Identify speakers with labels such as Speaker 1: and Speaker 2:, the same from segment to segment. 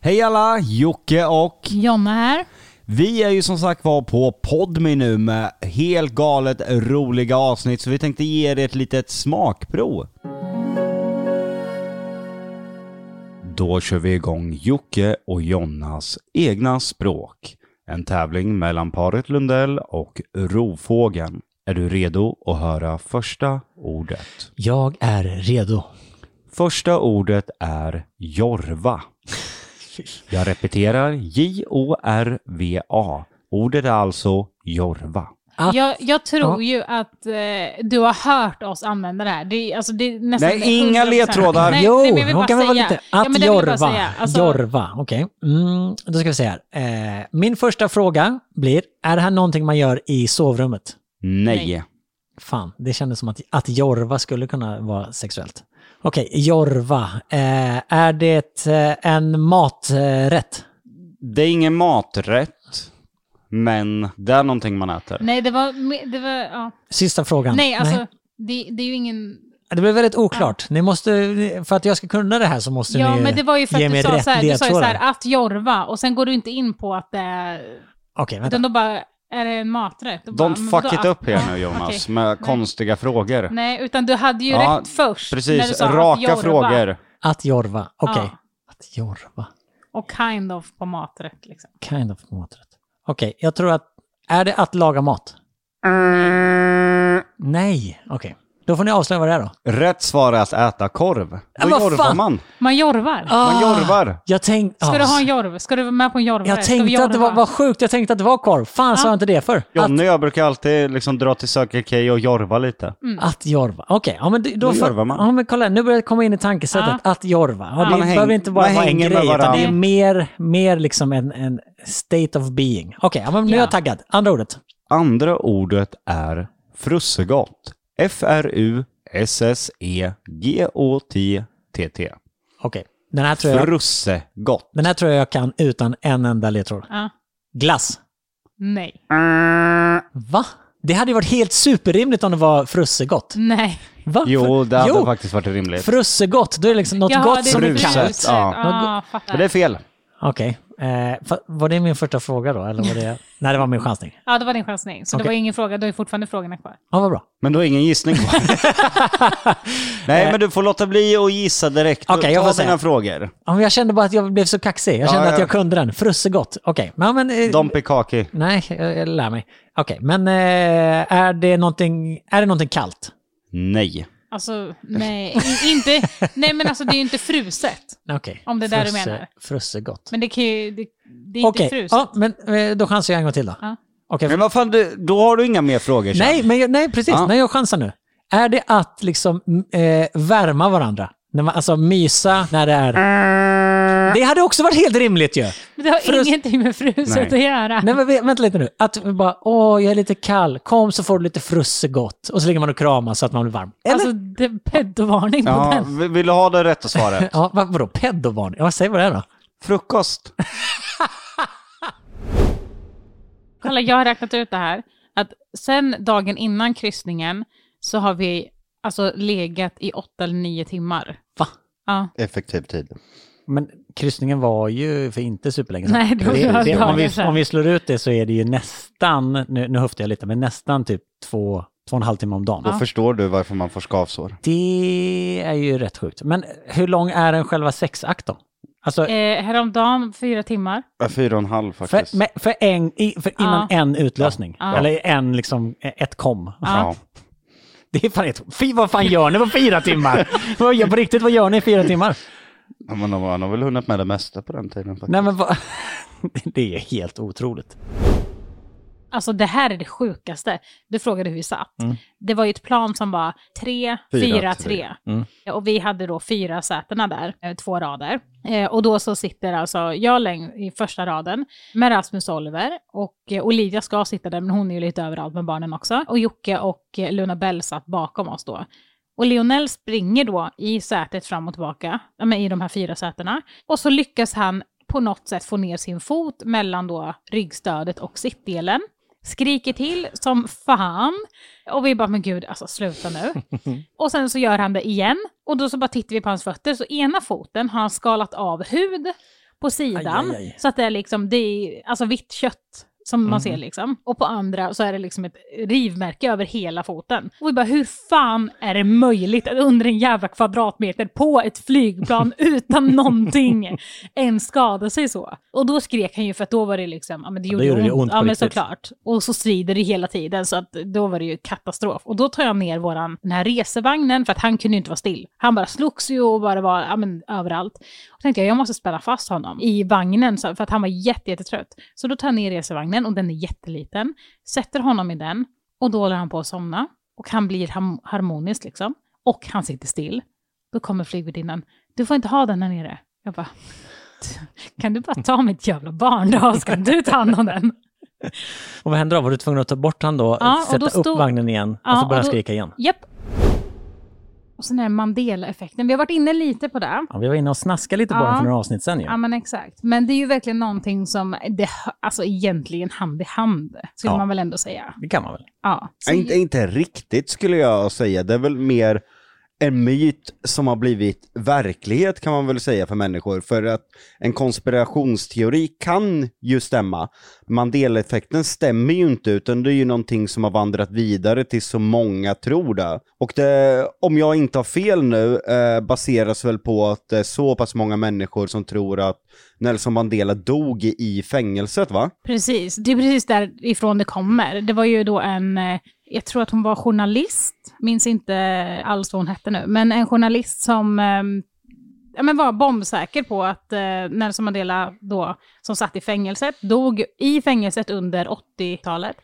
Speaker 1: Hej alla, Jocke och
Speaker 2: Jonna här.
Speaker 1: vi är ju som sagt var på Podme nu med helt galet roliga avsnitt så vi tänkte ge er ett litet smakprov. Då kör vi igång Jocke och Jonnas egna språk. En tävling mellan paret Lundell och Rovfågeln. Är du redo att höra första ordet?
Speaker 3: Jag är redo.
Speaker 1: Första ordet är Jorva. Jag repeterar J-O-R-V-A. Ordet är alltså Jorva.
Speaker 3: Ah.
Speaker 2: Jag, jag tror ju att eh, du har hört oss använda det här. Det, är- alltså, det är nästan
Speaker 1: Nej, inga
Speaker 2: 100%.
Speaker 1: ledtrådar.
Speaker 2: Nej,
Speaker 3: jo,
Speaker 2: nej, men jag vill
Speaker 3: hon
Speaker 2: bara
Speaker 3: kan väl vara
Speaker 2: säga.
Speaker 3: lite... Att
Speaker 2: Ja, men det vill jag bara
Speaker 3: jorva.
Speaker 2: säga. Alltså-
Speaker 3: Jorva, okej. Mm, då ska vi se här. Eh, min första fråga blir, är det här någonting man gör i sovrummet?
Speaker 1: Nej.
Speaker 2: Nej.
Speaker 3: Fan, det kändes som att, att jorva skulle kunna vara sexuellt. Okej, jorva. Eh, är det eh, en maträtt?
Speaker 1: Det är ingen maträtt, men det är någonting man äter.
Speaker 2: Nej, det var... me- Det var ja.
Speaker 3: Sista frågan.
Speaker 2: Nej, alltså, Det, det är ju ingen...
Speaker 3: Det blev väldigt oklart. Ni måste, för att jag ska kunna det här så måste
Speaker 2: Ja,
Speaker 3: ni
Speaker 2: men det var ju för
Speaker 3: ge
Speaker 2: att du
Speaker 3: mig
Speaker 2: sa
Speaker 3: rätt
Speaker 2: så här, du sa ju så
Speaker 3: ledtrådar.
Speaker 2: här, att jorva, och sen går du inte in på att det är...
Speaker 3: Okej, vänta.
Speaker 2: Utan då bara, är det en maträtt? Då bara,
Speaker 1: Don't
Speaker 2: men
Speaker 1: fuck
Speaker 2: vadå
Speaker 1: it
Speaker 2: att-
Speaker 1: up
Speaker 2: ja,
Speaker 1: här nu Jonas,
Speaker 2: okej.
Speaker 1: med
Speaker 2: Nej.
Speaker 1: konstiga frågor.
Speaker 2: Nej, utan du hade ju
Speaker 1: Ja,
Speaker 2: rätt först. när du
Speaker 1: Precis,
Speaker 2: sa att
Speaker 1: raka
Speaker 2: jorva
Speaker 1: frågor.
Speaker 3: Att jorva, okej.
Speaker 2: Ja.
Speaker 3: Att jorva.
Speaker 2: Och kind of på maträtt liksom.
Speaker 3: Kind of maträtt. Okej, jag tror att... Är det att laga mat?
Speaker 1: Mm.
Speaker 3: Nej, okej. Då får ni avslöja vad det är då.
Speaker 1: Rätt svar är att äta korv. Då
Speaker 3: vad
Speaker 1: jorvar
Speaker 3: fan?
Speaker 1: man.
Speaker 2: Man jorvar.
Speaker 1: Man jorvar.
Speaker 3: Jag tänkte...
Speaker 2: Ah. Ska du ha en jorv? Ska du vara med på en jorv?
Speaker 3: Jag tänkte att det var, var sjukt, jag tänkte att det var korv. Fan sa
Speaker 2: Ja.
Speaker 3: jag inte det för? Att,
Speaker 1: Jonny och jag brukar alltid liksom dra till Circle K och jorva lite.
Speaker 3: att jorva. Okej, ja men det- då...
Speaker 1: Då
Speaker 3: får-
Speaker 1: jorvar man.
Speaker 3: Ja men kolla, nu börjar det komma in i tankesättet. Att jorva. Ja, det
Speaker 1: Man häng-
Speaker 3: behöver inte bara
Speaker 1: man
Speaker 3: vara en
Speaker 1: hänger
Speaker 3: grej,
Speaker 1: med
Speaker 3: utan det är
Speaker 1: varandra.
Speaker 3: mer, mer liksom en, en state of being. Okej, ja, men nu är
Speaker 2: Ja.
Speaker 3: jag taggad. Andra ordet.
Speaker 1: Andra ordet är frussegott. E F-R-U-S-S-E-G-O-T-T-T.
Speaker 3: Okej, den här tror jag...
Speaker 1: Frussegott.
Speaker 3: Den här tror jag jag kan utan en enda ledtråd.
Speaker 2: Ja.
Speaker 3: Glass.
Speaker 2: Nej.
Speaker 3: Va? Det hade ju varit helt superrimligt om det var frussegott.
Speaker 2: Nej.
Speaker 3: Va?
Speaker 1: Jo, det hade
Speaker 3: jo,
Speaker 1: faktiskt varit rimligt.
Speaker 3: frussegott. Då är det liksom något
Speaker 2: Jaha,
Speaker 3: gott
Speaker 2: det
Speaker 3: som
Speaker 2: är
Speaker 3: du
Speaker 2: lite
Speaker 3: kan.
Speaker 1: fruset.
Speaker 2: fruset.
Speaker 1: Ja.
Speaker 2: Ah,
Speaker 1: Men det är
Speaker 2: fattar.
Speaker 1: fel.
Speaker 3: Okej. Eh, fa- var det min första fråga då? Eller var det... Nej, det var min chansning.
Speaker 2: Ja, det var din chansning. Så det
Speaker 3: Okej.
Speaker 2: var ingen fråga. Då är fortfarande frågorna kvar.
Speaker 3: Ja, vad bra.
Speaker 1: Men du har ingen gissning kvar. Nej, men du får låta bli att gissa direkt.
Speaker 3: Eh. Okej, jag
Speaker 1: Ta
Speaker 3: får
Speaker 1: dina
Speaker 3: säga.
Speaker 1: frågor.
Speaker 3: Ja, men jag kände bara att jag blev så kaxig. Jag
Speaker 1: Ja,
Speaker 3: kände
Speaker 1: ja.
Speaker 3: att jag kunde den. Frussegott. Okej. Men, men, eh,
Speaker 1: Dompy Kaki.
Speaker 3: Nej, jag, jag lär mig. Okej, men eh, är, det någonting, är det någonting kallt?
Speaker 1: Nej.
Speaker 2: Alltså, nej. I- Inte, nej, men alltså det är ju inte fruset.
Speaker 3: Okej.
Speaker 2: Om det är där du menar.
Speaker 3: Frussegott.
Speaker 2: Men det, kan ju, det, det är
Speaker 3: Okej,
Speaker 2: inte fruset.
Speaker 3: ja, men eh, då chansar jag en gång till då.
Speaker 2: Ja.
Speaker 3: Okej,
Speaker 1: Men vad fan, du, då har du inga mer frågor. sen.
Speaker 3: Nej, men jag, nej, precis.
Speaker 1: Ja.
Speaker 3: Nej, jag chansar nu. Är det att liksom m- eh, värma varandra? När man, alltså mysa när det är...
Speaker 2: Mm.
Speaker 3: Det hade också varit helt rimligt ju.
Speaker 2: Men det har
Speaker 3: Frus-
Speaker 2: ingenting med fruset
Speaker 1: Nej.
Speaker 2: att göra.
Speaker 3: Nej, men vä- vänta lite nu. Att vi bara, åh, jag är lite kall. Kom så får du lite frussegott. Och så ligger man och kramas så att man blir varm. Eller?
Speaker 2: Alltså, det är pedovarning på
Speaker 1: Ja,
Speaker 2: den.
Speaker 1: vi- vill du ha det rätta svaret?
Speaker 3: ja, vad, vadå? Pedobarn? Ja, säg vad det är då.
Speaker 1: Frukost.
Speaker 2: Kolla, jag har räknat ut det här. Att sen dagen innan kryssningen så har vi alltså legat i åtta eller nio timmar.
Speaker 3: Va?
Speaker 2: Ja.
Speaker 4: Effektiv tid.
Speaker 3: Men kryssningen var ju för inte superlänge sedan.
Speaker 2: Nej, det var
Speaker 3: det,
Speaker 2: några
Speaker 3: det, om,
Speaker 2: dagar
Speaker 3: vi,
Speaker 2: sedan.
Speaker 3: om vi slår ut det så är det ju nästan, nu, nu höftar jag lite, men nästan typ två, två och en halv timme om dagen.
Speaker 4: Då förstår du varför man får skavsår.
Speaker 3: Det är ju rätt sjukt. Men hur lång är den själva sexakten? Alltså,
Speaker 2: Eh, häromdagen fyra timmar.
Speaker 4: Ja, Fyra och en halv faktiskt.
Speaker 3: för, med, för, en, i, för innan en utlösning.
Speaker 2: Ja.
Speaker 3: Eller en, liksom, ett kom.
Speaker 4: Ja.
Speaker 3: Det är fan ett, fy, vad fan gör ni på fyra timmar? Vad gör- på riktigt, vad gör ni i fyra timmar?
Speaker 4: Ja, men de har- han har väl hunnit med det mesta på den tiden. Faktiskt.
Speaker 3: Nej, men vad? Det är ju helt otroligt.
Speaker 2: Alltså det här är det sjukaste. Du frågade hur vi satt. Det var ju ett plan som var 3,
Speaker 4: Mm. Fyra,
Speaker 2: 4,
Speaker 4: tre. Mm.
Speaker 2: 3. Och vi hade då fyra sätena där, eh, två rader. Eh, och då så sitter alltså jag läng- i första raden med Rasmus och Oliver. Och eh, Olivia ska sitta där, men hon är ju lite överallt med barnen också. Och Jocke och eh, Luna Bell satt bakom oss då. Och Lionel springer då i sätet fram och tillbaka, ja, men i de här fyra sätena. Och så lyckas han på något sätt få ner sin fot mellan då ryggstödet och sittdelen. Skriker till som fan. Och vi bara, men gud, alltså sluta nu. och sen så gör han det igen. Och då så bara tittar vi på hans fötter. Så ena foten har han skalat av hud på sidan.
Speaker 3: Aj, aj, aj.
Speaker 2: Så att det är liksom, det är alltså vitt kött som man
Speaker 3: Mm.
Speaker 2: ser liksom. Och på andra så är det liksom ett rivmärke över hela foten. Och vi bara, hur fan är det möjligt att under en jävla kvadratmeter på ett flygplan utan någonting ens skada sig så? Och då skrek han ju för att då var det liksom, ja men det
Speaker 3: Ja,
Speaker 2: gjorde,
Speaker 3: då gjorde det ont på
Speaker 2: Ja men
Speaker 3: riktigt.
Speaker 2: såklart. Och så strider det hela tiden så att då var det ju katastrof. Och då tar jag ner våran, den här resevagnen för att han kunde ju inte vara still. Han bara slogs ju och bara var, ja men överallt. Och tänkte jag, jag måste spänna fast honom i vagnen så- för att han var jätte, jättetrött. Så då tar jag ner resevagnen och den är jätteliten, sätter honom i den och då håller han på att somna. Och han blir ham- harmonisk liksom. Och han sitter still. Då kommer flygvärdinnan, du får inte ha den här nere. Jag bara, kan du bara ta mitt jävla barn då, ska du ta hand om den?
Speaker 3: Och vad hände då? Var du tvungen att ta bort han då?
Speaker 2: Ja, och
Speaker 3: sätta
Speaker 2: då
Speaker 3: upp
Speaker 2: stod-
Speaker 3: vagnen igen?
Speaker 2: Ja,
Speaker 3: och så
Speaker 2: och
Speaker 3: började han
Speaker 2: då-
Speaker 3: skrika igen?
Speaker 2: Japp. Och sen är det Mandela-effekten. Vi har varit inne lite på det.
Speaker 3: Ja, vi var inne och snaskade lite på
Speaker 2: Ja.
Speaker 3: den för några avsnitt sen ju.
Speaker 2: Ja, men exakt. Men det är ju verkligen någonting som, det, hö- alltså egentligen hand i hand, skulle
Speaker 3: Ja.
Speaker 2: man väl ändå säga.
Speaker 3: Det kan man väl?
Speaker 2: Ja. Så-
Speaker 1: Nej, inte, inte riktigt skulle jag säga. Det är väl mer en myt som har blivit verklighet kan man väl säga för människor. För att en konspirationsteori kan ju stämma. Mandela-effekten stämmer ju inte utan det är ju någonting som har vandrat vidare till så många tror det. Och det, om jag inte har fel nu, eh, baseras väl på att det är så pass många människor som tror att Nelson Mandela dog i fängelset va?
Speaker 2: Precis, det är precis därifrån det kommer. Det var ju då en, eh, jag tror att hon var journalist, minns inte alls vad hon hette nu, men en journalist som eh, ja, men var bombsäker på att eh, Nelson Mandela då, som satt i fängelset, dog i fängelset under 80-talet.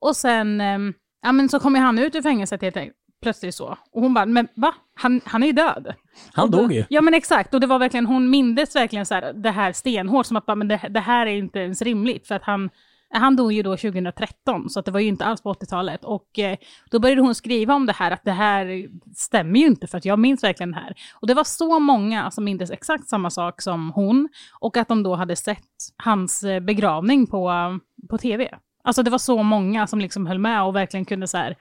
Speaker 2: Och sen, eh, ja men så kom ju han ut ur fängelset helt enkelt, plötsligt så. Och hon bara, men va? Han, han är ju död.
Speaker 3: Han
Speaker 2: Och då-
Speaker 3: dog ju.
Speaker 2: Ja men exakt, och det var verkligen, hon mindes verkligen så här, det här stenhårt som att bara, men det, det här är inte ens rimligt för att han, han dog ju då 2013 så att det var ju inte alls på 80-talet och eh, då började hon skriva om det här att det här stämmer ju inte för att jag minns verkligen det här. Och det var så många som mindes exakt samma sak som hon och att de då hade sett hans eh, begravning på, på tv. Alltså det var så många som liksom höll med och verkligen kunde så här,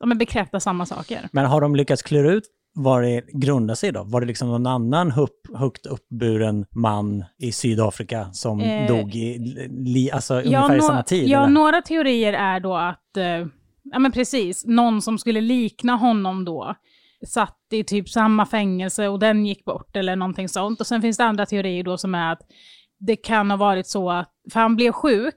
Speaker 2: ja, men bekräfta samma saker.
Speaker 3: Men har de lyckats klura ut vad det grundar sig då? Var det liksom någon annan hupp, högt uppburen man i Sydafrika som
Speaker 2: Eh,
Speaker 3: dog i, li, alltså, ungefär i
Speaker 2: nå-
Speaker 3: samma tid?
Speaker 2: Ja,
Speaker 3: eller?
Speaker 2: några teorier är då att, eh, ja men precis, någon som skulle likna honom då satt i typ samma fängelse och den gick bort eller någonting sånt. Och sen finns det andra teorier då som är att det kan ha varit så att, för han blev sjuk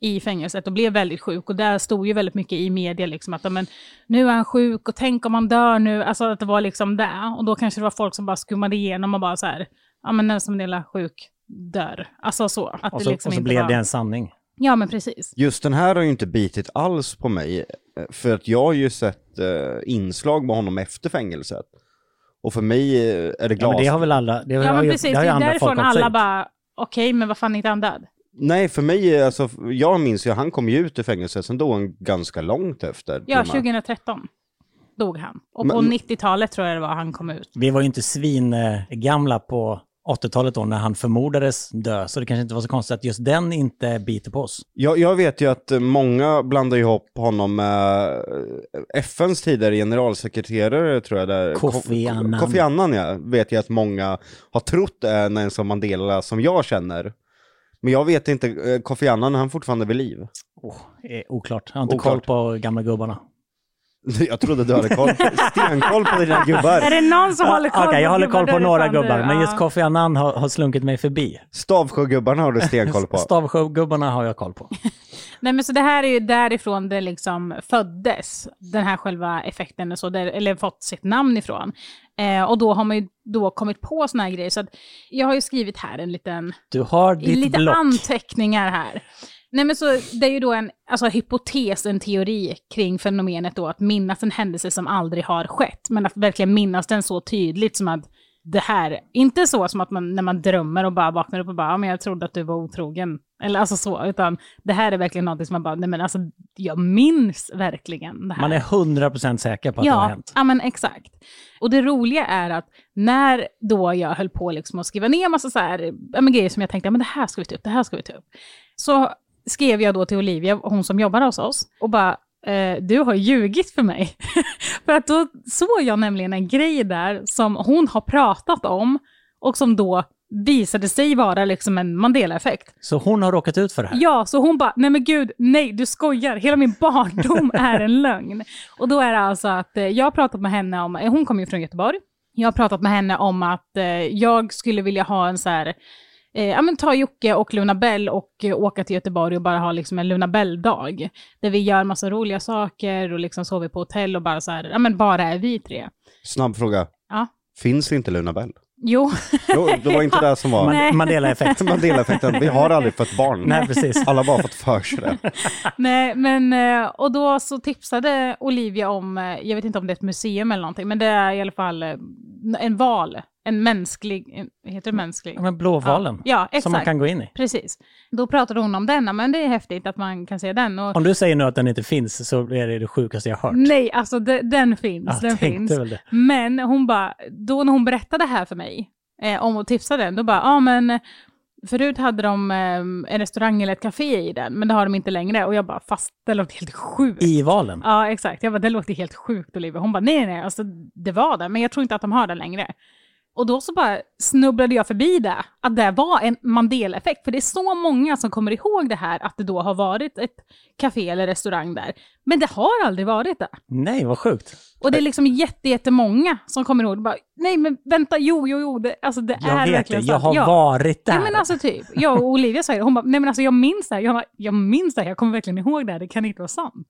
Speaker 2: i fängelset och blev väldigt sjuk och där stod ju väldigt mycket i media liksom att ja, men, nu är han sjuk och tänk om han dör nu, alltså att det var liksom det. Och då kanske det var folk som bara skummade igenom och bara så här, ja men Nelson Mandela sjuk, dör. Alltså så. Att
Speaker 3: och så,
Speaker 2: liksom
Speaker 3: och så
Speaker 2: inte
Speaker 3: blev
Speaker 2: var-
Speaker 3: det en sanning.
Speaker 2: Ja, men precis.
Speaker 1: Just den här har ju inte bitit alls på mig, eh, för att jag har ju sett eh, inslag med honom efter fängelset. Och för mig eh, är det
Speaker 3: Ja,
Speaker 1: glas...
Speaker 3: men det har väl alla... Det har,
Speaker 2: Ja, men
Speaker 3: ju-
Speaker 2: precis. Det
Speaker 3: det har ju
Speaker 2: är
Speaker 3: andra folk
Speaker 2: därifrån
Speaker 3: också
Speaker 2: alla
Speaker 3: gjort.
Speaker 2: bara, okej, men vad fan är inte han död?
Speaker 1: Nej, för mig, eh, alltså, jag minns ju, han kom ju ut ur fängelset, sen dog han ganska långt efter.
Speaker 2: Ja,
Speaker 1: till och med.
Speaker 2: 2013 dog han. Och
Speaker 1: Men-
Speaker 2: på 90-talet tror jag det var han kom ut.
Speaker 3: Vi var ju inte svin eh, gamla på 80-talet då när han förmodades dö, så det kanske inte var så konstigt att just den inte biter på oss.
Speaker 1: Jag, jag vet ju att eh, många blandar ihop honom med eh, FNs tidigare generalsekreterare tror jag där.
Speaker 3: Kofi
Speaker 1: Ko-
Speaker 3: Annan.
Speaker 1: Kofi Annan ja, vet jag att många har trott är Nelson Mandela som jag känner. Men jag vet inte, eh, Kofi Annan han är fortfarande vid liv.
Speaker 3: Oh, eh, oklart. Jag har inte
Speaker 1: Oklart.
Speaker 3: koll på gamla gubbarna.
Speaker 1: Jag trodde du hade koll, stenkoll på dina
Speaker 2: Är
Speaker 1: gubbar.
Speaker 2: det någon som håller koll
Speaker 3: Ah, Okej, jag håller koll
Speaker 2: gubbar?
Speaker 3: på
Speaker 2: Då är det fan
Speaker 3: några
Speaker 2: du.
Speaker 3: gubbar, men
Speaker 2: Ja.
Speaker 3: just Kofi Annan har, har slunkit mig förbi.
Speaker 1: Stavsjögubbarna har du stenkoll på.
Speaker 3: Stavsjögubbarna har jag koll på.
Speaker 2: Nej, men så det här är ju därifrån det liksom föddes, den här själva effekten, och så, där, eller fått sitt namn ifrån. Eh, och då har man ju då kommit på såna här grejer. Så att jag har ju skrivit här en liten
Speaker 3: Du har ditt
Speaker 2: lite
Speaker 3: block.
Speaker 2: anteckningar här. Nej, men så, det är ju då en alltså, hypotes, en teori kring fenomenet då att minnas en händelse som aldrig har skett, men att verkligen minnas den så tydligt som att det här, inte så som att man när man drömmer och bara vaknar upp och bara, ja, men jag trodde att du var otrogen, eller alltså så, utan det här är verkligen någonting som man bara, nej men alltså jag minns verkligen det här.
Speaker 3: Man är 100% säker på att
Speaker 2: ja,
Speaker 3: det har hänt.
Speaker 2: Ja, men exakt. Och det roliga är att när då jag höll på liksom att skriva ner massa så här, ja, men grejer som jag tänkte, ja, men det här ska vi ta upp, det här ska vi ta upp. Så skrev jag då till Olivia, hon som jobbar hos oss, och bara, eh, du har ljugit för mig. för att då såg jag nämligen en grej där som hon har pratat om och som då visade sig vara liksom en Mandela-effekt.
Speaker 3: Så hon har råkat ut för det här?
Speaker 2: Ja, så hon bara, nej men gud, nej du skojar, hela min barndom är en lögn. Och då är det alltså att eh, jag har pratat med henne om, eh, hon kommer ju från Göteborg, jag har pratat med henne om att eh, jag skulle vilja ha en så här, eh, ja men ta Jocke och Luna Bell och eh, åka till Göteborg och bara ha liksom en Luna Bell-dag. Där vi gör massa roliga saker och liksom sover på hotell och bara så här, ja men bara är vi tre.
Speaker 4: Snabb fråga.
Speaker 2: Ja.
Speaker 4: Finns inte Luna Bell?
Speaker 2: Jo,
Speaker 4: Jo, det var inte det som var
Speaker 2: Nej.
Speaker 3: Man, Mandela-effekt.
Speaker 4: Mandela-effekten. Vi har aldrig fått barn.
Speaker 3: Nej, precis.
Speaker 4: Alla har bara fått för sig det.
Speaker 2: Nej, men eh, och då så tipsade Olivia om, eh, jag vet inte om det är ett museum eller någonting, men det är i alla fall eh, en val, en mänsklig, en, heter det mänsklig?
Speaker 3: Ja, men blåvalen.
Speaker 2: Ja,
Speaker 3: som man
Speaker 2: exakt.
Speaker 3: kan gå in i.
Speaker 2: Precis. Då pratade hon om den, ja, men det är häftigt att man kan se den. Och,
Speaker 3: Om du säger nu att den inte finns så är det det sjukaste jag har hört.
Speaker 2: nej, alltså de, den finns,
Speaker 3: jag
Speaker 2: den
Speaker 3: tänkte
Speaker 2: finns.
Speaker 3: väl det.
Speaker 2: Men hon bara, då när hon berättade det här för mig, eh, om att tipsa den, då bara, ja ah, men förut hade de eh, en restaurang eller ett café i den, men det har de inte längre. Och jag bara, fast det låter helt sjukt.
Speaker 3: I valen.
Speaker 2: Ja, exakt. Jag bara, det låter helt sjukt Olivia. Hon bara, nej nej, alltså, det var det, men jag tror inte att de har det längre. Och då så bara snubblade jag förbi det, att det var en Mandela-effekt. För det är så många som kommer ihåg det här, att det då har varit ett café eller restaurang där. Men det har aldrig varit det.
Speaker 3: Nej, vad sjukt.
Speaker 2: Och det är liksom jätte, jättemånga som kommer ihåg det. Bara, nej men vänta, jo, jo, jo, det, alltså, det
Speaker 3: Jag
Speaker 2: är
Speaker 3: vet det.
Speaker 2: verkligen
Speaker 3: Jag
Speaker 2: sant.
Speaker 3: har
Speaker 2: Ja.
Speaker 3: varit där.
Speaker 2: Ja, men alltså typ. Jag och Olivia sa ju det. Hon bara, nej men alltså jag minns det här. Jag, bara, jag minns det här. Jag kommer verkligen ihåg det här. Det kan inte vara sant.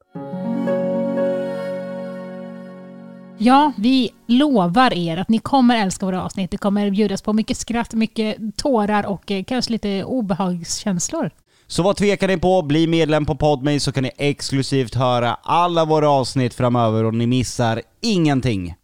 Speaker 2: Ja, vi lovar er att ni kommer älska våra avsnitt. Det kommer bjudas på mycket skratt, mycket tårar och eh, kanske lite obehagskänslor.
Speaker 1: Så vad tvekar ni på? Bli medlem på Podme så kan ni exklusivt höra alla våra avsnitt framöver och ni missar ingenting.